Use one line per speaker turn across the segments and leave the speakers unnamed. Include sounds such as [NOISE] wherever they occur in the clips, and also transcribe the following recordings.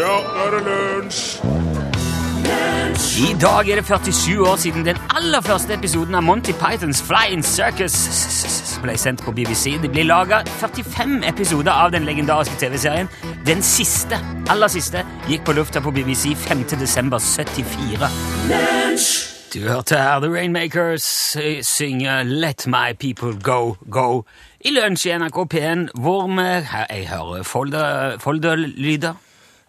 Nå er det lunsj!
I dag er det 47 år siden den aller første episoden av Monty Pythons Flying Circus ble sendt på BBC. Det ble laga 45 episoder av den legendariske TV-serien. Den siste, aller siste, gikk på lufta på BBC 5. desember 74. Du hørte her The Rainmakers eh, synge Let My People Go, Go i lunsj i NRK P1, hvor vi her, Jeg hører folder- folderlyder.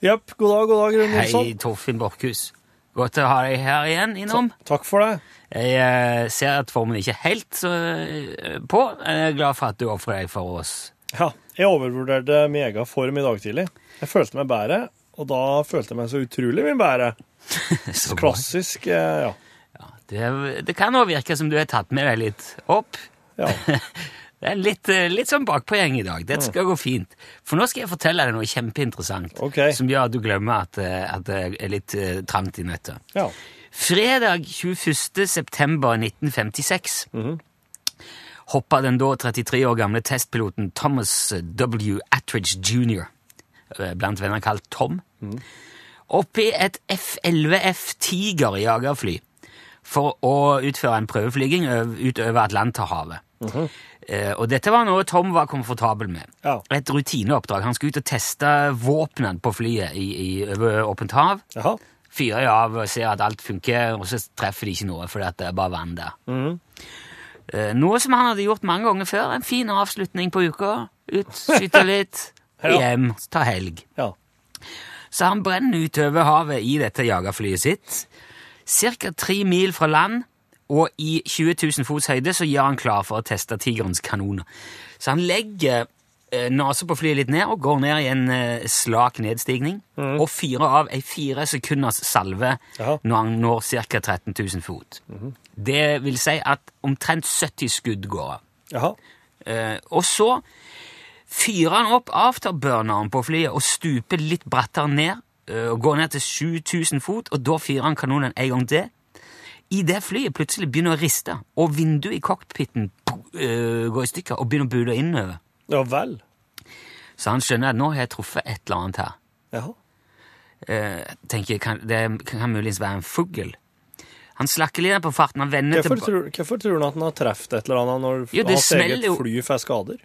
Jepp. God dag, god dag, Rune
Hei,
Olsson.
Torfinn Borchhus. Godt å ha deg her igjen innom.
Takk for det.
Jeg eh, ser at formen ikke er helt eh, på. Jeg er glad for at du ofrer deg for oss.
Ja, jeg overvurderte mega form i dag tidlig. Jeg følte meg bedre, og da følte jeg meg så utrolig mye bedre.
[LAUGHS] Så bra.
Klassisk, eh, ja.
Det, det kan òg virke som du har tatt med deg litt opp. [LAUGHS]
ja.
Det er litt, eh, litt sånn bakpå gjeng i dag. Dette skal gå fint. For nå skal jeg fortelle deg noe kjempeinteressant
Ok.
som gjør at du glemmer at, eh, at det er litt eh, trangt i nøtta.
ja.
Fredag 21. september 1956 hoppa den da 33 år gamle testpiloten Thomas W. Attridge jr., eh, blant venner kalt Tom, opp i et F-11F Tiger jagerfly for å utføre en prøveflyging øv- utover Atlanterhavet. Eh, Og dette var noe Tom var komfortabel med.
Ja.
Et rutineoppdrag. Han skulle ut og teste våpnene på flyet i, i, over åpent hav
Jaha.
fyrer jeg av og ser at alt funker, og så treffer de ikke noe fordi at det er bare vann der. Eh, Noe som han hadde gjort mange ganger før. En fin avslutning på uka. Ut, skyte litt,
Ja.
hjem, ta helg.
Ja.
Så han brenner utover havet i dette jagerflyet sitt. Cirka tre mil fra land, og i 20 000 fots høyde så gjør han klar for å teste tigerens kanoner. Så han legger eh, nesa på flyet litt ned og går ned i en eh, slak nedstigning. Og fyrer av ei fire sekunders salve
Jaha.
når han når ca. 13 000 fot. Det vil si at omtrent 70 skudd går av.
Jaha.
Eh, og så fyrer han opp afterburneren på flyet og stuper litt brattere ned. eh, og går ned til 7000 fot, og da fyrer han kanonen en gang til. Idet flyet plutselig begynner å riste, og vinduet i cockpiten eh, går i stykker og begynner å bule innover.
Ja vel.
Så han skjønner at nå har jeg truffet et eller annet her.
Jaha.
Eh, tenker, kan, Det kan muligens være en fugl. Han slakker litt på farten. Han vender
Hvorfor
tilbake
tror, hvorfor tror han at han har treffet et eller annet når
Jo, det
hans eget
smeller jo.
fly får skader?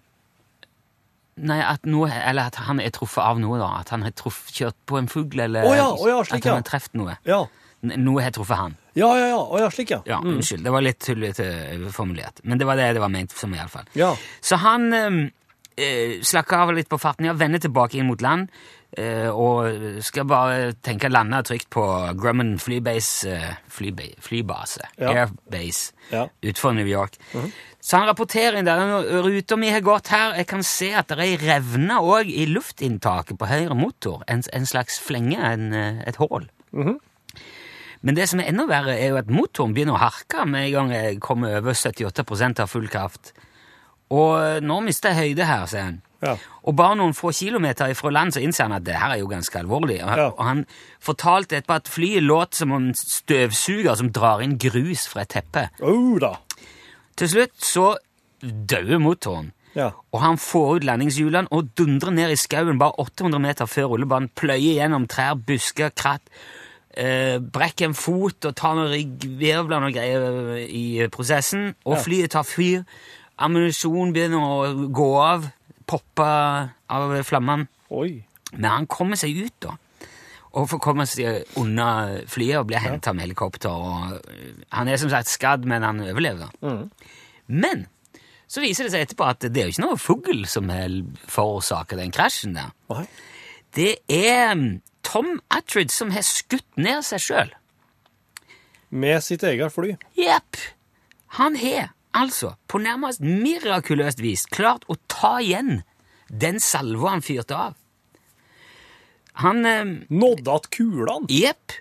Nei, at, noe, eller at han er truffet av noe, da. At han har truff, kjørt på en fugl, eller
Å ja, å ja, slik,
at han
ja.
har truffet noe.
Ja.
N- Noe har truffet han.
Ja, ja, ja. Å ja, slik, ja.
Ja, Unnskyld, det var litt tullete eh, formulert. Men det var det det var ment som, iallfall.
Ja.
Så han eh, eh, slakker av litt på farten, ja, vender tilbake inn mot land. eh, og skal bare tenke lande trygt på Grumman flybase, eh, flyba flybase,
Ja.
airbase,
Ja. Mhm.
utenfor New York. Så han rapporterer inn der. "Nå, Ruta mi har gått her. Jeg kan se at det er ei revne òg i luftinntaket på høyre motor. En, en slags flenge, en, eh, et hull. Men det som er enda verre, er jo at motoren begynner å harke med en gang jeg kommer over 78 av full kraft. Og eh, nå mister jeg høyde her, sier han.
Ja.
Og bare noen få kilometer ifra land så innser han at det her er jo ganske alvorlig. Og,
Ja.
og han fortalte etterpå at flyet låt som en støvsuger som drar inn grus fra et teppe.
Oh, da.
Til slutt så dauer motoren.
Ja.
Og han får ut landingshjulene og dundrer ned i skauen bare 800 meter før rullebanen, pløyer gjennom trær, busker, kratt, eh, brekker en fot og tar noen ryggvirvler og greier eh, i prosessen. Og
Ja.
flyet tar fyr, ammunisjon begynner å gå av, popper av flammene.
Oi.
Men han kommer seg ut, da. Og får komme seg unna flyet og bli henta med helikopter. Og øh, han er som sagt skadd, men han overlever. Men så viser det seg etterpå at det er jo ikke noe fugl som forårsaker den krasjen der.
Nei.
Det er mm, Tom Attridge som har skutt ned seg sjøl.
Med sitt eget fly.
Jepp. Han har altså på nærmest mirakuløst vis klart å ta igjen den salva han fyrte av. Han eh,
Nådde at kulene.
Jepp.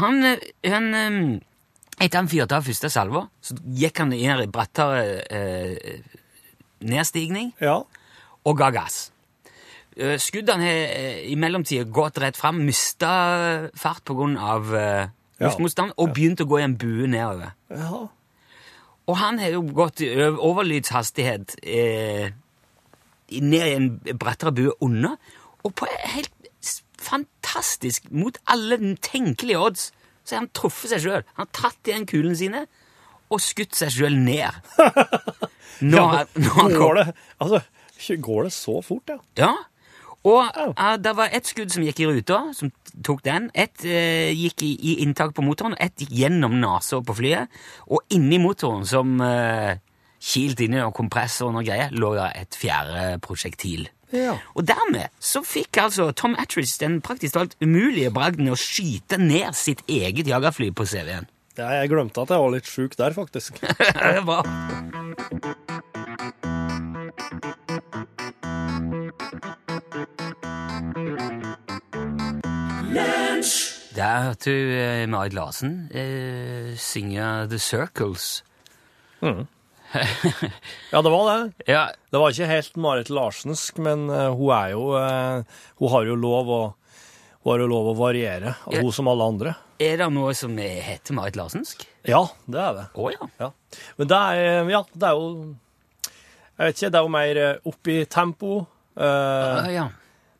Han, eh, han eh, Etter han fyrte av første salva, så gikk han i en brattere eh, nedstigning
Ja.
og ga gass. Eh, Skuddene har eh, i mellomtida gått rett fram, mista fart pga. Eh,
Ja.
luftmotstand og begynt å gå i en bue nedover.
ja.
Og han har jo gått i øv- overlydshastighet eh, i- ned i en brattere bue under, og på en helt s- fantastisk. Mot alle tenkelige odds så har han truffet seg sjøl. Han har tatt igjen kulene sine og skutt seg sjøl
[LAUGHS]
ned. Nå,
Ja,
nå han kom-
går, det, altså, går det så fort, ja?
ja. Og
Au.
eh, det var ett skudd som gikk i ruta, som tok den. Ett eh, gikk i, i inntak på motoren, og ett gikk gjennom nesa på flyet. Og inni motoren, som uh, kilte inni og kompressoren og greier, lå det et fjerde prosjektil.
Ja.
Og dermed så fikk altså Tom Attridge den praktisk talt umulige bragden å skyte ned sitt eget jagerfly på CV-en.
Ja, Jeg glemte at jeg var litt sjuk der, faktisk.
Ja, det er bra. Der hørte du eh, Marit Larsen eh, synge The Circles.
Ja, det var det.
Ja,
Det var ikke helt Marit Larsensk, men eh, hun er jo eh, Hun har jo lov å hun har jo lov å variere, og
Ja.
hun som alle andre.
er det noe som heter Marit Larsensk?
Ja, det er det.
Å ja.
Ja. Men det er, eh, ja, det er jo Jeg vet ikke, det er jo mer eh, opp i tempo. eh,
Å, ja.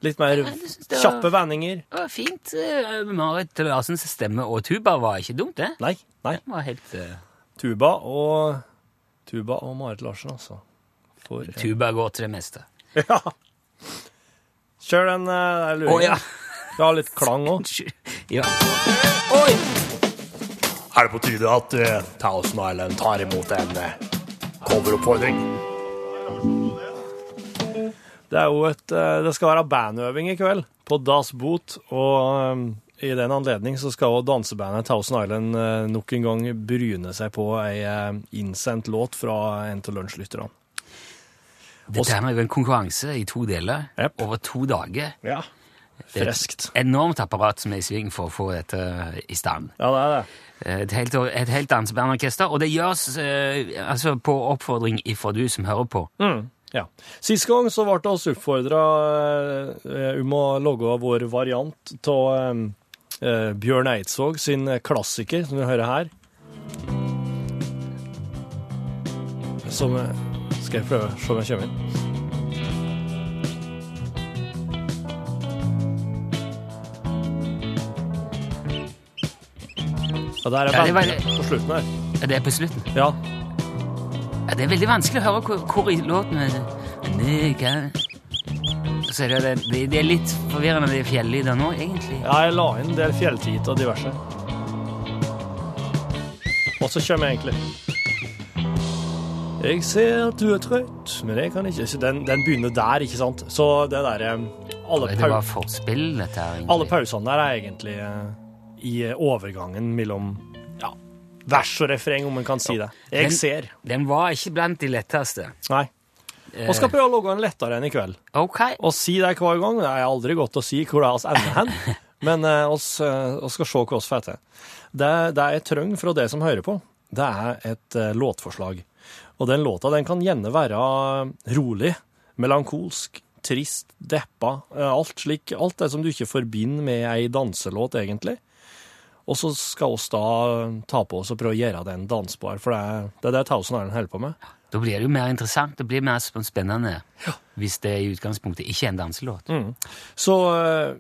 litt mer
jeg synes det var-
kjappe vendinger.
Det var fint. eh, Marit Larsens stemme og tuba var ikke dumt, det.
Nei, nei.
Det var helt... eh,
Tuba og Tuba og Marit Larsen, altså. For, eh,
tuba går til det meste.
ja. Kjør den eh, der
Å
luringen.
ja.
Du har litt klang òg.
ja.
Er det på tide at eh, Thousand Island tar imot en eh, coveroppfordring? Det er jo et eh, Det skal være bandøving i kveld på Das Boot, og eh, i den anledning så skal også dansebandet Thousand Island eh, nok en gang bryne seg på ei eh, innsendt låt fra en av lunsjlytterne.
Dette her er jo en konkurranse i to deler
Yep.
over to dager.
Ja.
Det er
Freskt.
et enormt apparat som er i sving for å få dette eh, i stand.
Ja, det er det.
Et helt, et helt dansebandorkester, og det gjøres eh, altså på oppfordring ifra du som hører på.
Mm. Ja. Sist gang så ble oss oppfordra eh, om å lage vår variant av eh, Bjørn Eidsvåg sin klassiker, som vi hører her. Som eh, Skal jeg prøve se om jeg kommer inn? Ja, der er
Ja, det var-
bandet på slutten her.
Ja, Det er på slutten.
Ja.
Ja, det er veldig vanskelig å høre hvor, hvor i låten er det. Men det kan- Så er det, det, det er litt forvirrende med de fjellydene nå, egentlig.
Ja, jeg la inn en del fjelltit og diverse. Og så kommer jeg egentlig. Jeg ser at du er trøtt, men jeg kan ikke så den, den begynner der, ikke sant? Så det derre alle,
Det
pau
var forspill, dette her.
alle
egentlig.
pausene der er egentlig eh, i overgangen mellom ja, vers og refreng, om en kan si det.
Men-
Jeg ser.
Den var ikke blant de letteste.
Nei.
Eh.
Og skal prøve å logge en lettere en i kveld.
Ok.
Å si det hver gang det er aldri godt å si hvor det er oss ender hen, men eh, oss, eh, oss skal se hva oss får til. Det, det jeg trenger fra det som hører på, det er et eh, låtforslag. Og den låta den kan gjerne være rolig, melankolsk, trist, deppa, eh, alt slik, alt det som du ikke forbinder med ei danselåt, egentlig. Og så skal oss da ta på oss og prøve å gjøre den dansbar, for det er det, er det Thousand Island holder på med.
Da blir det jo mer interessant, det blir mer sp- spennende hvis det i utgangspunktet ikke er en danselåt.
Mm. Så eh,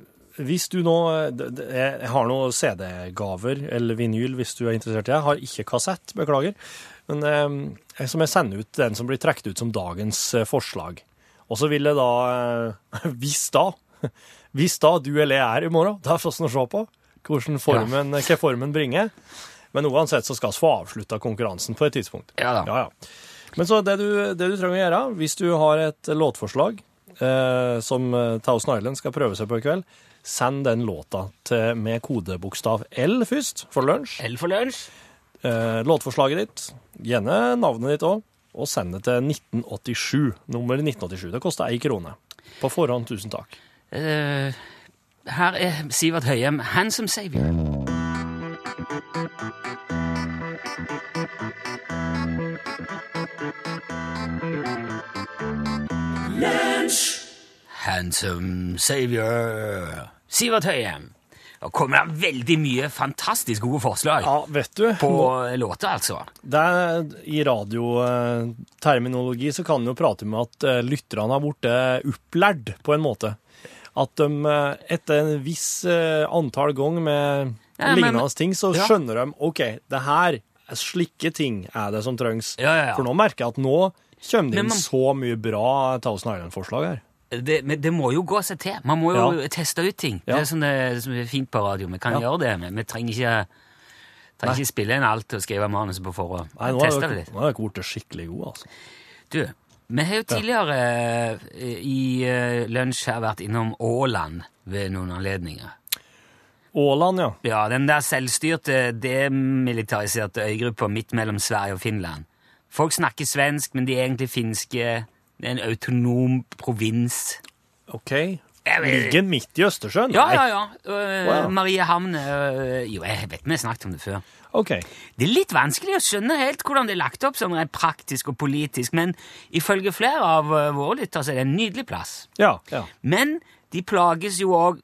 hvis du nå eh, d- d- Jeg har noen CD-gaver eller vinyl hvis du er interessert i det. Jeg har ikke kassett, beklager. Men eh, som jeg sender ut den som blir trukket ut som dagens eh, forslag. Og så vil jeg da eh, [LAUGHS] Hvis da Hvis da du eller jeg er i morgen, det er først å se på hvordan formen, eh, hva formen bringer. Men uansett så skal vi få avslutta konkurransen på et tidspunkt.
Ja da.
Ja, ja. Men så det du, det du trenger å gjøre, hvis du har et låtforslag eh, som eh, Thousand Island skal prøve seg på i kveld, send den låta til, med kodebokstav L først, for lunsj.
Eller for lunsj.
Eh, låtforslaget ditt, gjerne navnet ditt òg, og send det til 1987. Nummer 1987. Det koster ei krone. På forhånd, tusen takk.
Eh, her er Sivert Høyem, 'Handsome Savior'. Handsome Savior. Sivert Høyem. Da kommer det veldig mye fantastisk gode forslag
Ja, vet du,
på låter, altså.
det er, i radioterminologi så kan en jo prate med at eh, lytterne har blitt eh, opplært på en måte. at de eh, etter en viss eh, antall ganger med
Ja, men-
lignende ting, så
Ja.
skjønner de OK, det her Slike ting er det som trengs.
Ja, ja, ja.
For nå merker jeg at nå kommer det
Men
inn
man-
så mye bra Thousand Island-forslag her.
Det, men det må jo gå seg til. Man må jo
Ja.
teste ut ting.
Ja.
Det er sånn det, som er fint på radio. Vi kan
Ja.
gjøre det, men vi trenger ikke, trenger ikke spille inn alt og skrive manuset på forhånd.
Nei, nå er
Tester det
dere
litt.
nå er dere blitt skikkelig gode, altså.
Du, vi har jo tidligere eh, i eh, lunsj her vært innom Åland ved noen anledninger.
Åland, ja.
Ja, den der selvstyrte, demilitariserte øygruppa midt mellom Sverige og Finland. Folk snakker svensk, men de er egentlig finske. Det er en autonom provins.
OK.
Jeg vet-
Ligger midt i Østersjøen?
Ja,
Nei.
ja, ja. Øh,
Wow.
Mariehamn øh, Jo, jeg vet vi har snakket om det før.
OK.
Det er litt vanskelig å skjønne helt hvordan det er lagt opp sånn rent praktisk og politisk, men ifølge flere av øh, våre lyttere så er det en nydelig plass.
Ja, ja.
Men de plages jo òg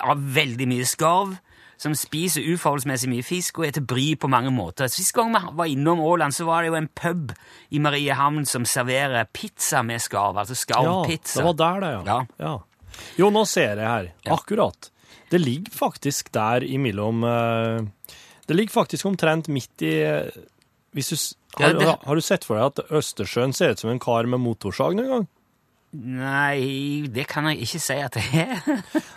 av veldig mye skarv, som spiser uforholdsmessig mye fisk og er til bry på mange måter. Sist gang vi var innom Åland, så var det jo en pub i Mariehamn som serverer pizza med skarv. Altså skarvpizza.
Ja, det var der, det, ja.
Ja.
ja. Jo, nå ser jeg her. Akkurat. Det ligger faktisk der imellom eh, Det ligger faktisk omtrent midt i eh, hvis du, s- har,
Ja, det-
har du sett for deg at Østersjøen ser ut som en kar med motorsag noen gang?
Nei, det kan jeg ikke si at det er.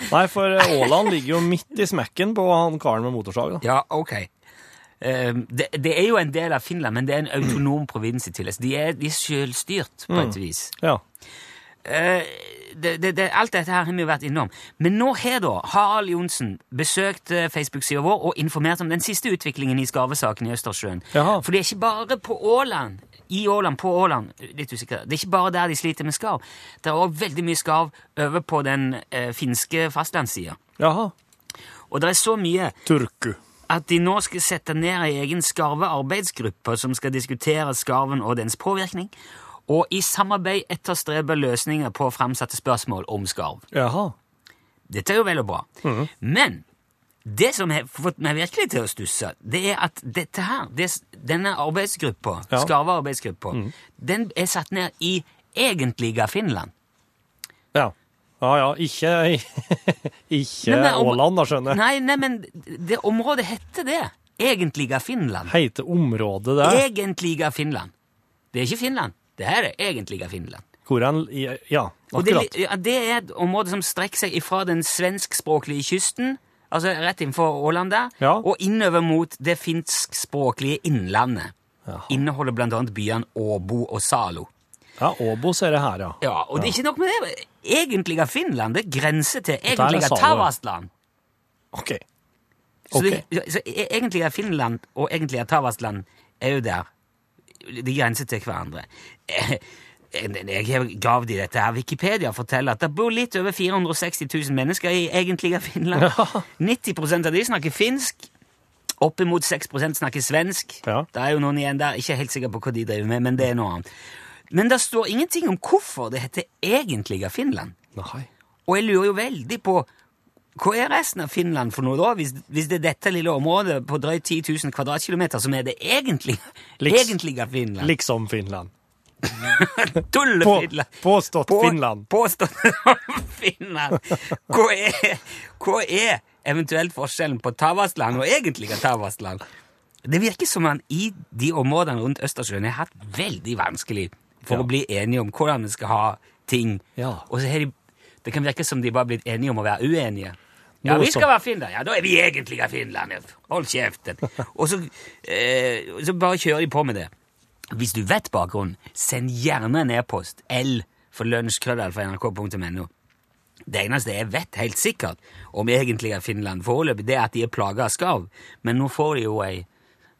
Nei, for eh, Åland ligger jo midt i smekken på han karen med motorsag. da.
ja, ok. Ehm, det, det er jo en del av Finland, men det er en autonom provins i tillegg. De er, de er selvstyrt, på et vis.
Ja.
Eh, det, det, det, alt dette her har vi jo vært innom. Men nå har da Harald Johnsen besøkt eh, Facebook-sida vår og informert om den siste utviklingen i skarvesaken i Østersjøen.
Jaha.
For det er ikke bare på Åland, i Åland, på Åland, litt usikker, det er ikke bare der de sliter med skarv. Det er òg veldig mye skarv over på den eh, finske fastlandssida.
Jaha.
Og det er så mye
Turku.
at de nå skal sette ned ei egen skarvearbeidsgruppe som skal diskutere skarven og dens påvirkning, og i samarbeid etterstrebe løsninger på framsatte spørsmål om skarv.
Jaha.
Dette er jo vel og bra.
Mhm.
Men det som har fått meg virkelig til å stusse, det er at dette her, det, denne arbeidsgruppa,
Ja. Mhm.
skarvearbeidsgruppa, den er satt ned i egentlige Finland.
Ja. Ja ja, ikke [LAUGHS] Ikke
Nei, men om-
Åland, da, skjønner jeg.
Nei, nei, men det området heter det. Egentlige Finland.
Heite området der.
Egentlige Finland. Det er ikke Finland. Det her er egentlige Finland.
Hvor han Ja,
Og det,
akkurat.
ja, det er et område som strekker seg ifra den svenskspråklige kysten, altså rett innenfor Åland der,
Ja.
og innover mot det finskspråklige innlandet. Inneholder blant annet byene Åbo og Salo.
Ja, Åbo ser det her, ja.
Ja, og det er ikke nok med det. Egentlige Finland, det grenser til
er
egentlige
Salo, ja.
Tavastland.
OK.
Så,
Ok.
det, så e- egentlige Finland og egentlige Tavastland er jo der. De grenser til hverandre. Eh, Jeg har gravd i dette her. Wikipedia forteller at det bor litt over 460 000 mennesker i egentlige Finland. 90 av de snakker finsk. Oppimot 6 snakker svensk.
Ja.
Det er jo noen igjen der. Ikke helt sikker på hva de driver med, men det er noe annet. Men det står ingenting om hvorfor det heter egentlige Finland.
Nei.
Og jeg lurer jo veldig på hva er resten av Finland for noe da, hvis, hvis det er dette lille området på drøyt 10 000 kvadratkilometer som er det egentlige,
[LAUGHS] Liks-
egentlige Finland?
Liksom Finland. På,
Tullefinland!
påstått
På-
Finland.
Påstått [LAUGHS] Finland! Hva er, hva er eventuelt forskjellen på Tavastland og egentlige Tavastland? Det virker som man i de områdene rundt Østersjøen har hatt veldig vanskelig for
Ja.
å bli enige om hvordan vi skal ha ting.
Ja.
Og så har de, det kan virke som de bare har blitt enige om å være uenige. Ja,
Noe
vi skal
sånt.
være Finland. Ja, da er vi egentlig av Finland. ja. Hold kjeften. Og så, eh, så bare kjører de på med det. Hvis du vet bakgrunnen, send gjerne en e-post. L for lunsjkrøllalfa.nrk.no. Det eneste jeg vet helt sikkert om egentlig av Finland foreløpig, det er at de er plaga av skarv. Men nå får de jo ei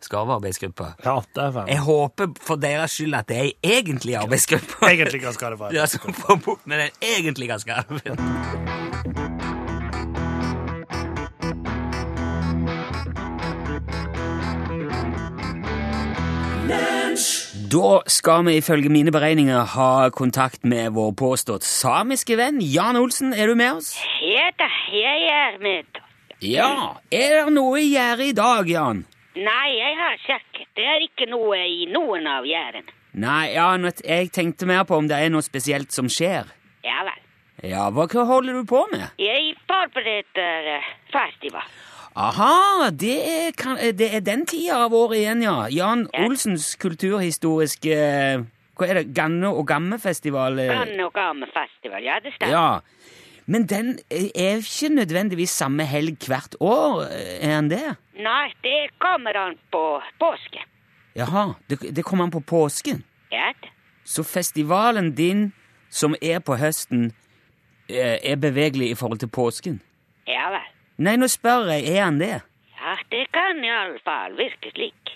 skarvarbeidsgruppe.
Ja, det er fan.
Jeg håper for deres skyld at det er ei egentlig arbeidsgruppe.
Egentlig hva skal det være?
Ja, som får bukt med den egentlige skarven. Da skal vi ifølge mine beregninger ha kontakt med vår påstått samiske venn Jan Olsen. Er du med oss?
Ja da, jeg er med.
Ja. Er det noe i gjære i dag, Jan?
Nei, jeg har sjekket. Det er ikke noe i noen av gjerdene.
Nei, Jan, jeg tenkte mer på om det er noe spesielt som skjer.
Ja vel.
Ja, hva, hva holder du på med?
Jeg forbereder eh, festival.
Aha, det er, kan, eh, det er den tida av året igjen, ja. Jan Olsens kulturhistoriske eh, Hva er det? Ganne- og gammefestival? eh,
Gann og gammefestival, ja, det stemmer.
Ja. Men den eh, er ikke nødvendigvis samme helg hvert år, eh, er den det?
Nei, det kommer an på påske.
Jaha, det, det kommer an på påsken.
Ja, det.
Så festivalen din, som er på høsten, eh, er bevegelig i forhold til påsken?
ja vel.
Nei, nå spør jeg, er han det?
Ja, det kan i alle fall virke slik.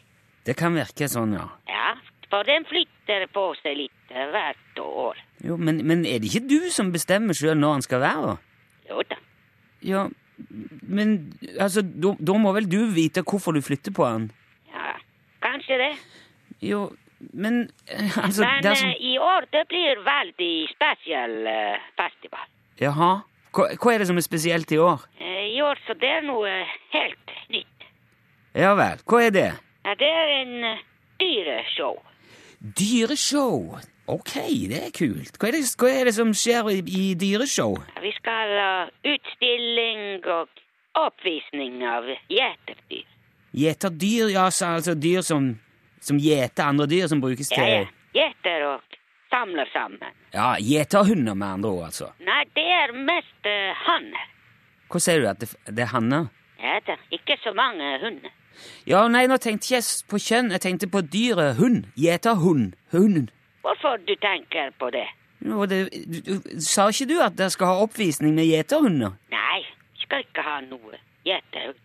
Det kan virke sånn, ja.
Ja, for den flytter på seg litt eh, hvert år.
Jo, men, men er det ikke du som bestemmer sjøl når han skal være, da?
Jo da.
Ja, men altså, da da må vel du vite hvorfor du flytter på han?
Ja, kanskje det.
Jo, men eh, altså
Men
dersom
eh, i år det blir veldig spesiell eh, festival.
Jaha? Hva, hva er det som er spesielt i år?
Eh, I år så det er noe helt nytt.
Ja vel, hva er det?
Ja, det er en eh, dyreshow.
Dyreshow. Ok, det er kult. Hva er det, hva er det som skjer i, i dyreshow?
Vi skal ha utstilling og oppvisning av gjeterdyr.
Gjeter dyr, ja, så, altså dyr som, som gjeter andre dyr som brukes til
Ja, ja. Gjeter og samler sammen.
Ja, gjeterhunder med andre ord, altså.
Nei, det er mest uh, hanner.
Hva sier du, at det, det er hanner?
Ja, det er ikke så mange hunder.
Ja, nei, nå tenkte jeg s- på kjønn, jeg tenkte på dyret hund. Gjeterhund. Hunden.
Hvorfor du tenker på det?
Jo, det, du, du, sa ikke du at dere skal ha oppvisning med gjeterhunder?
Nei, skal ikke ha noe gjetehund.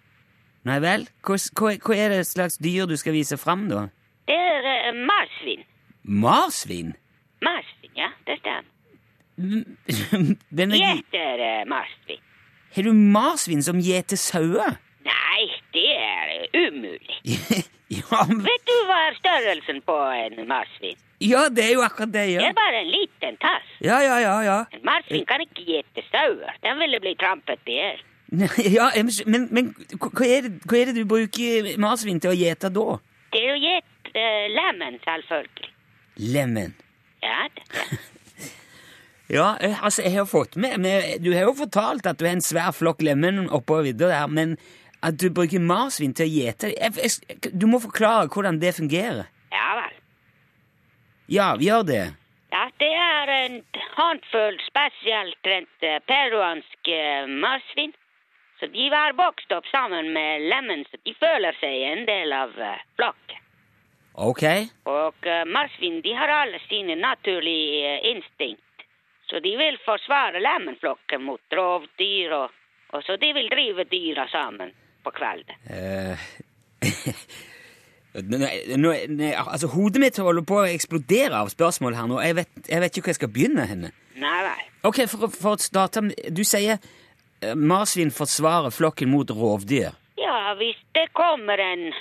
Nei vel? Hva, s- hva, hva er det slags dyr du skal vise fram, da?
Det er eh, marsvin.
Marsvin? [LAUGHS]
Marsvin, ja, det stemmer.
Men er-
Gjeter eh, marsvin.
Har du marsvin som gjeter sauer?
Nei, det er eh, umulig.
[LAUGHS] ja, men-
Vet du hva er størrelsen på en marsvin?
ja, det er jo akkurat det,
Det
ja.
er bare en liten tass.
Ja, ja, ja, ja. [LAUGHS]
En marsvin kan ikke gjete sauer. Den ville bli trampet i hjel.
Nei, ja jeg må skj- men men hva, hva er det, hva er det du bruker marsvin til å gjete da?
Det er jo gjett eh, lemen, selvfølgelig.
Lemen.
Ja, det,
Ja, eh, altså, jeg har fått med, med Du har jo fortalt at du har en svær flokk lemen oppå vidda der, men at du bruker marsvin til å gjete jeg, jeg, Du må forklare hvordan det fungerer.
ja vel.
Ja, gjør det.
Ja, det er en håndfull spesielt trent eh, peruansk eh, marsvin. Så de var vokst opp sammen med lemen, så de føler seg en del av eh, flokken.
Ok.
Og eh, marsvin, de har alle sine naturlige eh, instinkt. Så de vil forsvare lemenflokken mot rovdyr, og, og så de vil drive dyra sammen på kvelden.
Eh, Nå, nå, nei, altså, hodet mitt holder på å eksplodere av spørsmål her nå. Jeg vet, jeg vet ikke hvor jeg skal begynne. henne.
Nei vel.
Ok, for, å- for å starte med- Du sier eh, marsvin forsvarer flokken mot rovdyr.
Ja, hvis det kommer en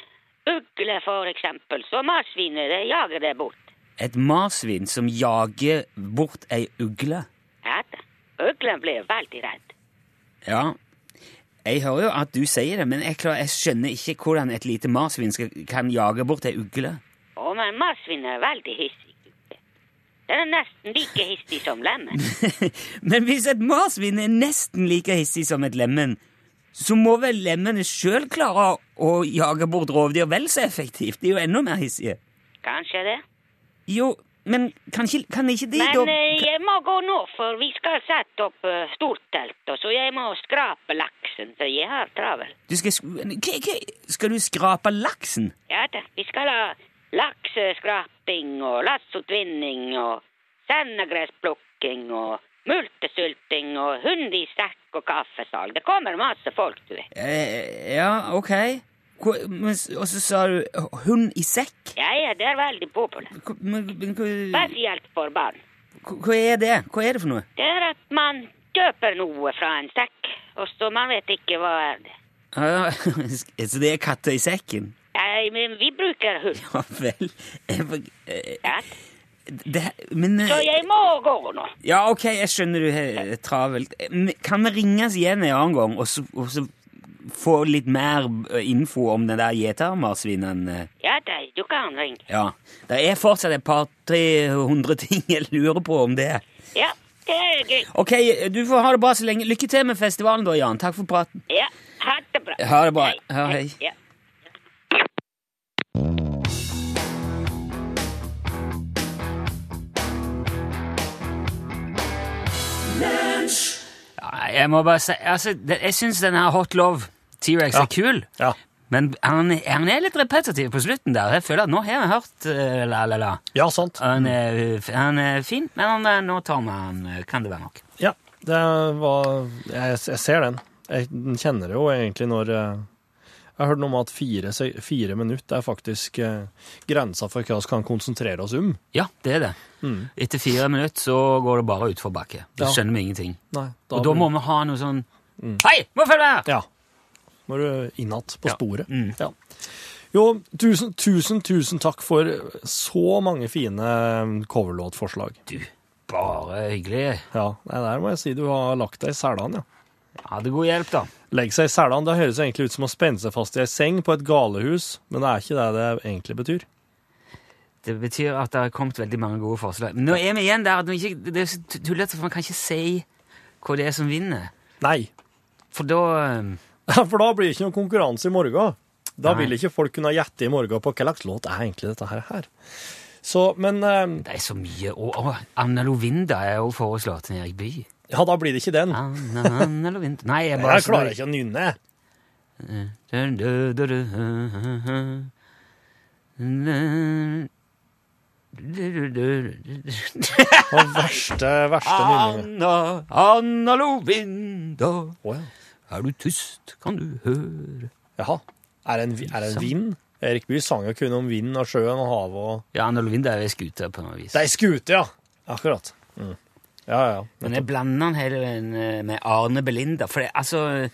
ugle, for eksempel, så marsvinet det jager det bort.
Et marsvin som jager bort ei ugle.
Ja da. Uglen blir veldig redd.
Ja, jeg hører jo at du sier det, men jeg, klar, jeg skjønner ikke hvordan et lite marsvin skal, kan jage bort ei ugle.
Å, men marsvin er veldig hissig. Den er nesten like hissig som lemmen.
Men hvis et marsvin er nesten like hissig som et lemen, så må vel lemmene sjøl klare å jage bort rovdyr vel så effektivt? De er jo enda mer hissige.
Kanskje det.
Jo, men kan ikke, kan ikke de
Men
da
eh, jeg må gå nå, for vi skal sette opp eh, stortelt, og så jeg må skrape laksen, så jeg har travel.
du skal, sk- hva- hva- skal du skrape laksen?
Ja da, vi skal ha lakseskraping og lassotvinning og sendegressplukking og multesulting og hund i sekk og kaffesal. Det kommer masse folk, du vet.
Eh, ja, ok. Hvor- men s- Og så sa du hund i sekk?
Ja, ja, det er veldig populært.
Hva, men- men hva,
Spesielt for barn.
hva- hva er det? Hva er det for noe?
Det er at man kjøper noe fra en sekk, og så man vet ikke hva er det.
Ah, [LAUGHS] ja. Så det er katter i sekken? [LAUGHS]
Nei, men vi bruker hund.
Ja vel. Jeg får- eh,
Ja.
Det, men eh,
Så jeg må gå nå.
Ja, ok, jeg skjønner du er travelt. Men Kan vi ringes igjen en annen gang, og så, og så få litt mer eh, info om den der gjetermarsvinen? eh?
Ja, da, du kan ringe.
Ja. Det er fortsatt et par-tre hundre ting jeg lurer på om det.
Ja. Det er gøy.
Ok, du får ha det bra så lenge. Lykke til med festivalen da, Jan. Takk for praten.
Ja, ha det bra.
Ha det bra.
Hei,
Ja, hei.
Ja.
Ja, Jeg må bare si, altså, det, jeg syns denne Hot Love T-Rex
Ja.
er kul,
Ja.
men han, han er litt repetitiv på slutten der. Jeg føler at nå har jeg hørt eh, la, la, la.
ja, sant.
Han er, han er fin, men han, er- nå tar vi han. eh, Kan det være nok?
Ja, det var Jeg, jeg ser den. Jeg den kjenner det jo egentlig når eh, Jeg har hørt noe om at fire, se- fire minutter er faktisk eh, grensa for hva vi kan konsentrere oss om.
Ja, det er det.
Mm.
Etter fire minutter så går det bare utfor bakke. Da
Ja. Mm.
skjønner vi ingenting.
Nei,
Og da må vi ha noe sånn Hei, må følge her!
Ja. Må du inn igjen på
Ja.
sporet.
Mm.
Ja. Jo, tusen, tusen, tusen takk for så mange fine eh, coverlåtforslag.
Du, bare hyggelig.
Ja, nei, der må jeg si du har lagt deg i selene, ja.
Hadde god hjelp, da.
Legg seg i selene, det høres egentlig ut som å spenne seg fast i ei seng på et galehus, men det er ikke det det egentlig betyr.
Det betyr at det har kommet veldig mange gode forslag. Men nå er vi igjen der at vi ikke, det er så tullete, for man kan ikke si hva det er som vinner.
Nei, [LAUGHS]
For da eh,
for da blir det ikke noen konkurranse i morgen. Da
Nei.
vil ikke folk kunne gjette i morgen på hva slags låt er egentlig dette her. her. Så, men eh,
Det er så mye. Og, og Anna Lovinda er jo foreslått til Erik Bye.
ja, da blir det ikke den.
Anna, Anna Lovinda Nei, jeg bare
Jeg klarer ikke å nynne.
ikke.
Og verste, verste
Ah.
nynninga.
Anna, Anna Lovinda,
Å, ja.
er du tyst, kan du høre
Jaha. Er det en, vi- er det en
Sånn.
vind? Erik Bye sang jo kun om vind og sjøen og havet og
Ja, Anna Lovinda er ei skute på noe vis.
Det er ei skute, ja! Akkurat. Mm. Ja, ja.
Men jeg blander han hele veien eh, med Arne Belinda. For det, altså,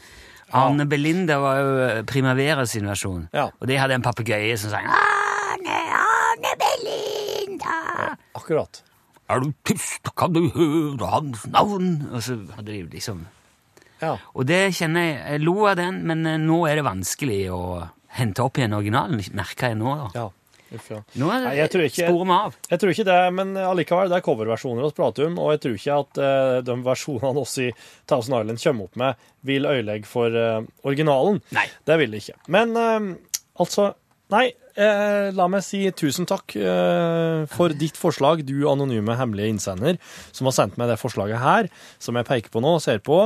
Arne Belinda var jo eh, Primavera sin versjon.
Ja.
Og de hadde en papegøye som sang Arne, Arne Belinda.
Akkurat.
Er du tyst, kan du høre hans navn? Og så hadde de jo liksom
Ja.
Og det kjenner jeg Jeg lo av den, men eh, nå er det vanskelig å hente opp igjen originalen, merker jeg nå. da.
ja. Uff, ja.
Nå er
Nei, jeg tror ikke-
sporer vi av.
Jeg tror ikke det, men eh, allikevel, det er coverversjoner vi prater om, og jeg tror ikke at eh, de versjonene oss i Thousand Island kommer opp med, vil øyelegge for eh, originalen.
Nei.
Det vil det ikke. Men eh, altså Nei, eh, la meg si tusen takk eh, for ditt forslag, du anonyme hemmelige innsender, som har sendt meg det forslaget her, som jeg peker på nå og ser på,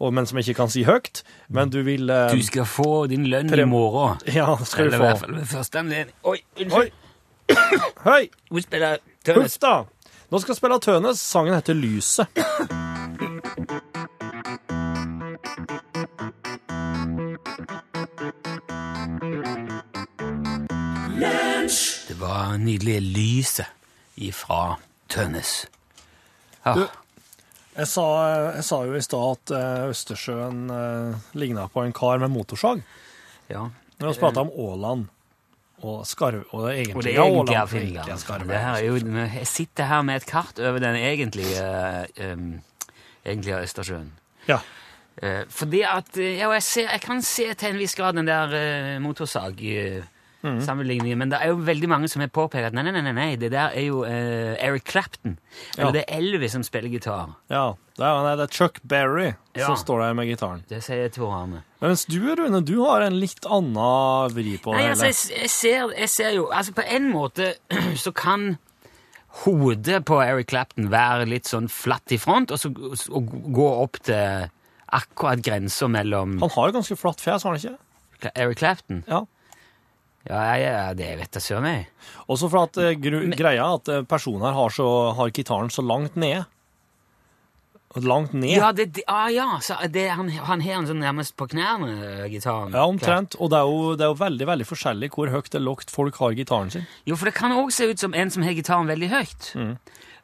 og, men som jeg ikke kan si høyt. Men du vil eh,
Du skal få din lønn i
Prem-
morgen.
[LAUGHS] Ja, skal
Eller i
du
hvert
få.
fall ved første anledning. Oi,
Oi!
unnskyld.
Høy!
Hun spiller
Huff,
tennis.
da! Nå skal jeg spille Tønes. Sangen heter Lyset.
Det var nydelige lyset ifra Tønnes. Ah,
Du- Jeg sa, jeg sa jo i stad at eh, Østersjøen eh, ligna på en kar med motorsag.
ja.
Når vi pratet om Åland og skarv og
Og
det
det
egentlige
egentlige
Åland.
er Finland.
egentlig er skarv.
Det her er jo, jeg sitter her med et kart over den egentlige, um, egentlige Østersjøen.
Ja.
Eh, fordi at eh, ja, og jeg, ser, jeg kan se til en viss grad den der uh, motorsag-sammenligningen, men det er jo veldig mange som har påpekt at nei, nei, nei, nei, nei det der er jo eh, Eric Clapton. Eller
Ja.
det er Elvis som spiller gitar.
ja. Det er, nei, det er Chuck Berry
Ja.
som står der med gitaren.
Det sier Tor Arne.
Men mens du, Rune, du har en litt annen vri på det.
Nei, altså,
hele.
jeg, jeg, ser, jeg ser jo Altså, på en måte [CLEARS THROAT] så kan hodet på Eric Clapton være litt sånn flatt i front, og så og gå opp til akkurat grensa mellom
Han har et ganske flatt fjes, har han ikke?
Cla- Eric Clapton.
Ja.
Ja, jeg, jeg- det vet jeg søren meg.
Også for at eh, gru, greia er at eh, personen her har, så, har gitaren så langt nede. Langt ned.
Ja, det, det, ah, ja så det, han, han har den sånn nærmest på knærne, eh, gitaren.
Ja, omtrent. Og det er, jo, det er jo veldig veldig forskjellig hvor høyt eller lågt folk har gitaren sin.
Jo, for det kan òg se ut som en som har gitaren veldig høyt.
Mm.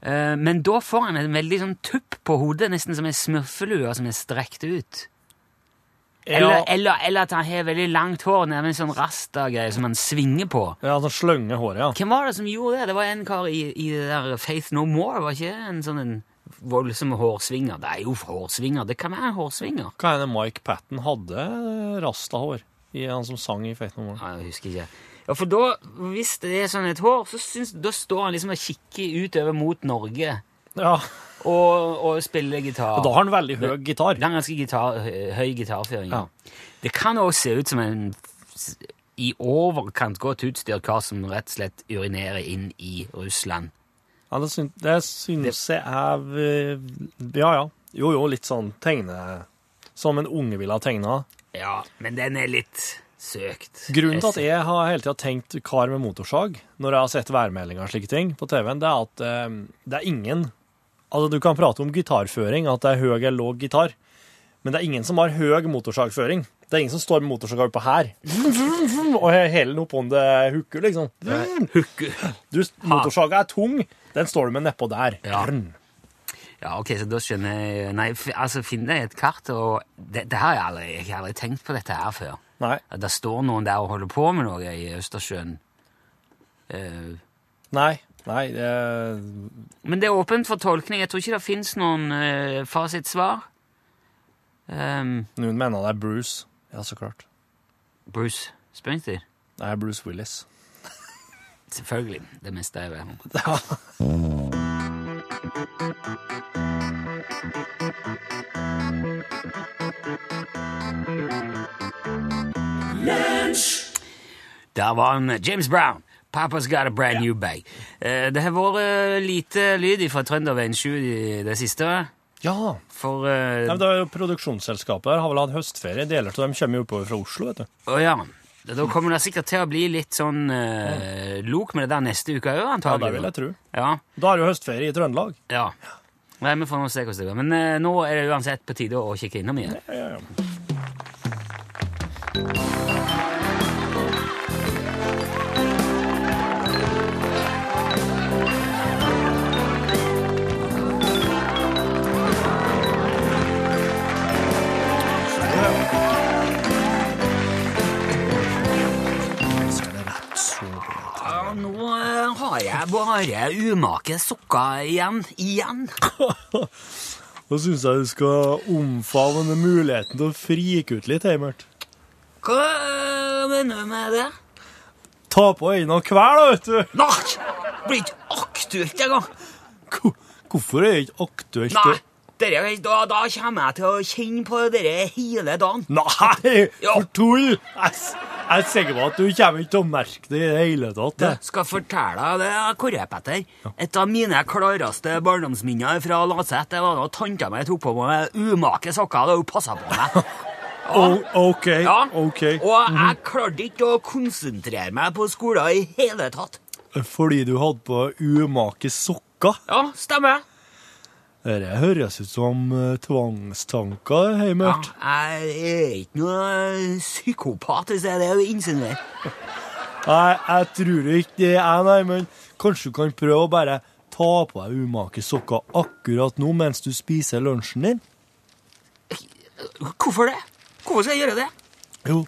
Eh, men da får han en veldig sånn tupp på hodet, nesten som en smurfelue som er strekt ut. Eller,
Ja,
eller, eller at han har veldig langt hår, nærmest sånn rasta-greie som han svinger på.
ja han slønger håret, ja.
Hvem var det som gjorde det? Det var en kar i, i det der Faith No More, var ikke det? en sånn en voldsom hårsvinger? Det er jo hårsvinger, det kan være en hårsvinger.
Hva hende Mike Patten hadde rastahår, i han som sang i Faith No More.
Ja, jeg husker ikke. Ja, for da, hvis det er sånn et hår, så syns, da står han liksom og kikker utover mot Norge.
Ja,
og, og spiller gitar.
Og da har han veldig høy gitar.
Det er en ganske gitar, hø- høy gitarføring.
Ja.
Det kan òg se ut som en s- i overkant godt utstyrt kar som rett og slett urinerer inn i Russland.
Ja, det, syns, det syns jeg er eh, Ja, ja. Jo, jo, litt sånn tegne... Som en unge ville ha tegna.
Ja, men den er litt søkt.
Grunnen til at jeg har hele tida tenkt kar med motorsag når jeg har sett værmeldinger og slike ting på TV-en, det er at eh, det er ingen Altså, du kan prate om gitarføring, at det er høy eller låg gitar, men det er ingen som har høy motorsagføring. Det er ingen som står med motorsag oppå her [LAUGHS] og heller den oppå det hooker, liksom. Du, motorsaga er tung, den står du med nedpå der.
Ja. Ja, ok, så da skjønner jeg Nei, f altså, finn deg et kart, og det, det har jeg aldri, jeg har aldri tenkt på dette her før.
Nei,
At Det står noen der og holder på med noe i Østersjøen. Eh,
nei, nei. eh,
Men det er åpent for tolkning. Jeg tror ikke det fins noen eh, fasitsvar. Ehm,
noen mener det er Bruce. Ja, så klart.
Bruce Springsteen.
Det er Bruce Willis.
Selvfølgelig. Det meste
[LAUGHS]
er vel Der var han James Brown. Papa's got a brand new bag. Eh, det har vært lite lyd fra Trønderveien 7 i det siste.
Ja,
For eh,
Nei, men det er jo Produksjonsselskapet her har vel hatt høstferie. Deler av dem kommer jo oppover fra Oslo. vet du.
Å ja. Da kommer det sikkert til å bli litt sånn eh, lok med det der neste uke òg,
Ja, Det vil
antagelig.
jeg tro.
Ja,
Da er det jo høstferie i Trøndelag.
ja. Nei, vi får nå se hvordan det går. Men eh, nå er det uansett på tide å kikke innom igjen. Ja, nå eh, har jeg bare umake sokker igjen. Igjen.
Da syns jeg du skal omfavne muligheten til å frike ut litt, Heimert.
Hva eh, mener du med det?
Ta på øynene og kvel, da, vet du!
Nei, det blir ikke aktuelt engang.
Ko- Hvorfor er det ikke aktuelt?
Nei,
å-
dere, da, da kommer jeg til å kjenne på dere hele dagen.
Nei,
Ja.
for tull! Jeg, s- jeg er sikker på at du kommer ikke til å merke det i det hele tatt.
Du,
det.
skal fortelle deg det, Kåre Petter. Et av mine klareste barndomsminner fra Laset det var da tanta mi tok på meg umake sokker da hun passa på [LAUGHS] meg.
O- OK,
Ja.
OK.
Og jeg klarte ikke å konsentrere meg på skolen i hele tatt.
Fordi du hadde på umake sokker?
Ja, stemmer.
Dette høres ut som eh, tvangstanker,
Ja,
Heimert.
jeg er ikke noe psykopat, hvis det er det du insinuerer.
Nei, jeg tror ikke det er, nei, men kanskje du kan prøve å bare ta på deg umake sokker akkurat nå mens du spiser lunsjen din?
Hvorfor det? Hvorfor skal jeg gjøre det?
Jo,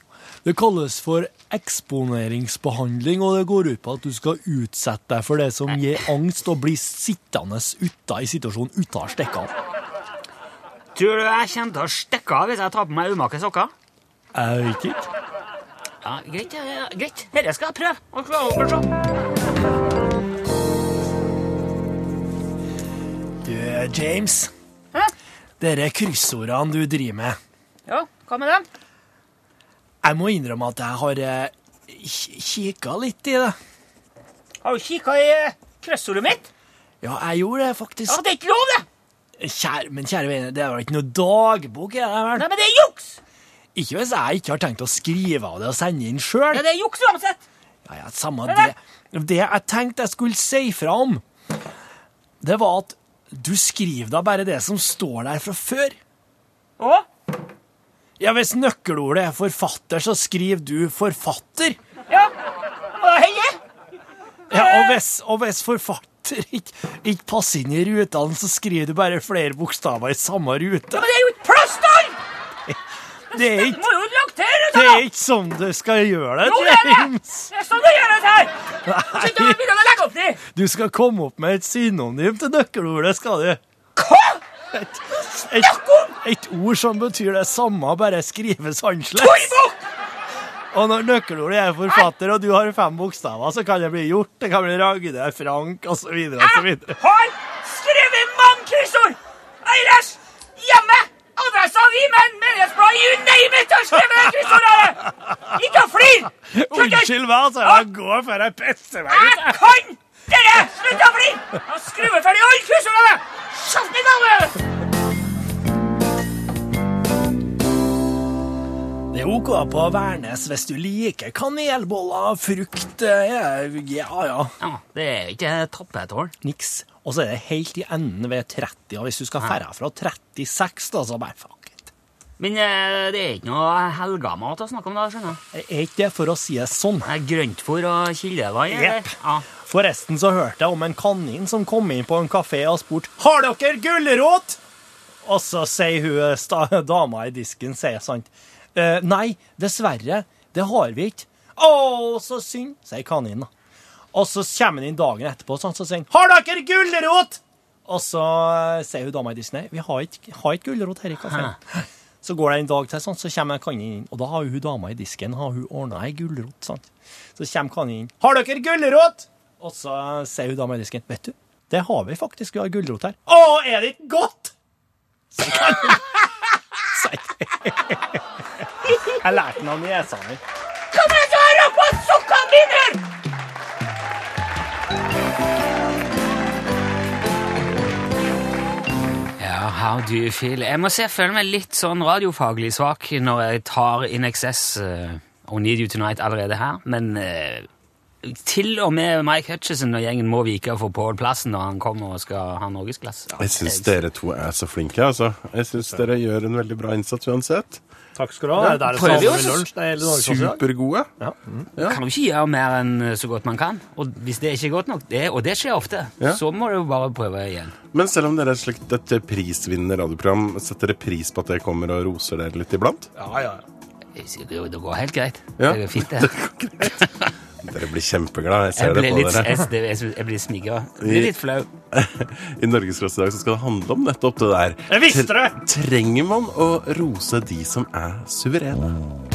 det kalles for eksponeringsbehandling, og det går ut på at du skal utsette deg for det som gir angst, og bli sittende uta i situasjonen uta har stikket av.
Tror du jeg kommer til å stikke av hvis jeg tar på meg umake sokker?
Jeg vet ikke.
Ja, greit. ja, ja, greit. Dette skal jeg prøve. Og klare å se.
Du, James, dere kryssordene du driver med,
Ja, hva med den?
jeg må innrømme at jeg har eh, k- kikket litt i det.
Har du kikka i kryssordet mitt?
Ja, jeg gjorde det faktisk.
Ja, Det er ikke lov, det!
Kjære, men kjære vene, det er vel ikke noe dagbok? Er det vel?
Nei, men det er juks!
Ikke hvis jeg ikke har tenkt å skrive av det og sende inn sjøl.
Ja, det er juks uansett!
Ja, ja, samme
Nei,
det.
nei.
Det jeg tenkte jeg skulle si fra om, det var at du skriver da bare det som står der fra før.
Å?
Ja, Hvis nøkkelordet er forfatter, så skriver du forfatter.
Ja, må da henge!
Ja, Og hvis, og hvis forfatter [LAUGHS] ikke, ikke passer inn i rutene, så skriver du bare flere bokstaver i samme rute.
Men det er jo ikke plass der!
Det er
Du
ikke,
må jo laktere ut
det
av
er ikke sånn du skal gjøre
Jo,
det,
det er det!
James.
Det er sånn det gjøres her! Slutt å
Nei.
begynne å legge opp til!
Du skal komme opp med et synonym til nøkkelordet, skal du?
Hva?!
Et, et, et ord som betyr det samme, bare skrives annerledes.
Bok!
Og når nøkkelordet er forfatter, og du har fem bokstaver, så kan det bli Hjort, det kan bli Ragde, Frank, osv.
Jeg har skrevet mann Kryssord! Øyres! Hjemme! Adressa vi menn! Menighetsbladet! You name it! Har skrevet det kryssordet! Ikke flir!
Unnskyld meg, altså. Jeg går for ei pisse meg ut.
Jeg kan dere! Slutt å flire! Jeg skrur ferdig alle kryssordene! Kjeft i navnet!
Det er OK på Værnes hvis du liker kanelboller, frukt eh, Ja, ja.
Ja, det er jo ikke tappe et år.
Niks. Og så er det helt i enden ved 30, og hvis du skal ferde fra 36, da, så bare fuck it.
Men eh, det er ikke noe helgamat å snakke om da, skjønner jeg.
Det Er ikke det for å si det sånn?
Det er grøntfôr og kildevann. eller?
Jepp.
Ja.
Forresten så hørte jeg om en kanin som kom inn på en kafé og spurte Har dere gulrot? Og så sier hun sta, dama i disken, sier sant. «Eh, nei, dessverre, det har vi ikke. Å, så synd, sier kaninen. da. Og så kommer han inn dagen etterpå sånn, så sier han Har dere gulrot? Og så eh, sier hun dama i disken nei, vi har ikke, har ikke gulrot her i kafeen. Så går det en dag til, sånn, så kommer kaninen inn. Og da har hun dama i disken har hun ordna ei gulrot. sant? Så kommer kaninen inn. Har dere gulrot? Og så sier hun dama i disken. Vet du, det har vi faktisk. Vi har gulrot her. Å, er det ikke godt? Sier kaninen. [LAUGHS] Sier- Jeg lærte den av niesa mi.
Kom igjen, så har jeg på sukka her! Ja, how do you feel? Jeg må si jeg føler meg litt sånn radiofaglig svak når jeg tar In Excess eh, og Need You Tonight allerede her, men eh, til og med Mike Hutchison og gjengen må vike for Pål Plassen når han kommer og skal ha norgesglass. Ja,
Jeg syns dere to er så flinke, altså. Jeg syns dere gjør en veldig bra innsats uansett.
Takk skal du ha. Det er
prøver
det
jo
samme med
så-
lunsj. Det er hele Norges også i dag.
Supergode.
Ja.
Kan du ikke gjøre mer enn eh, så godt man kan? Og hvis det ikke er godt nok, det, og det skjer ofte,
Ja.
så må du jo bare prøve igjen.
Men selv om dere er et slikt et prisvinnende radioprogram, setter dere pris på at jeg kommer og roser dere litt iblant?
Ja, ja.
Jeg sier, Det det går helt greit.
Ja.
Det går fint,
[LAUGHS]
det.
Dere blir kjempeglad, jeg
Jeg
ser det
blir
på
litt,
dere.
jeg, det- jeg, jeg blir smigra. Blir litt flau.
[LAUGHS] I Norgesklasse i dag så skal det handle om nettopp det der.
Jeg visste det!
Trenger man å rose de som er suverene?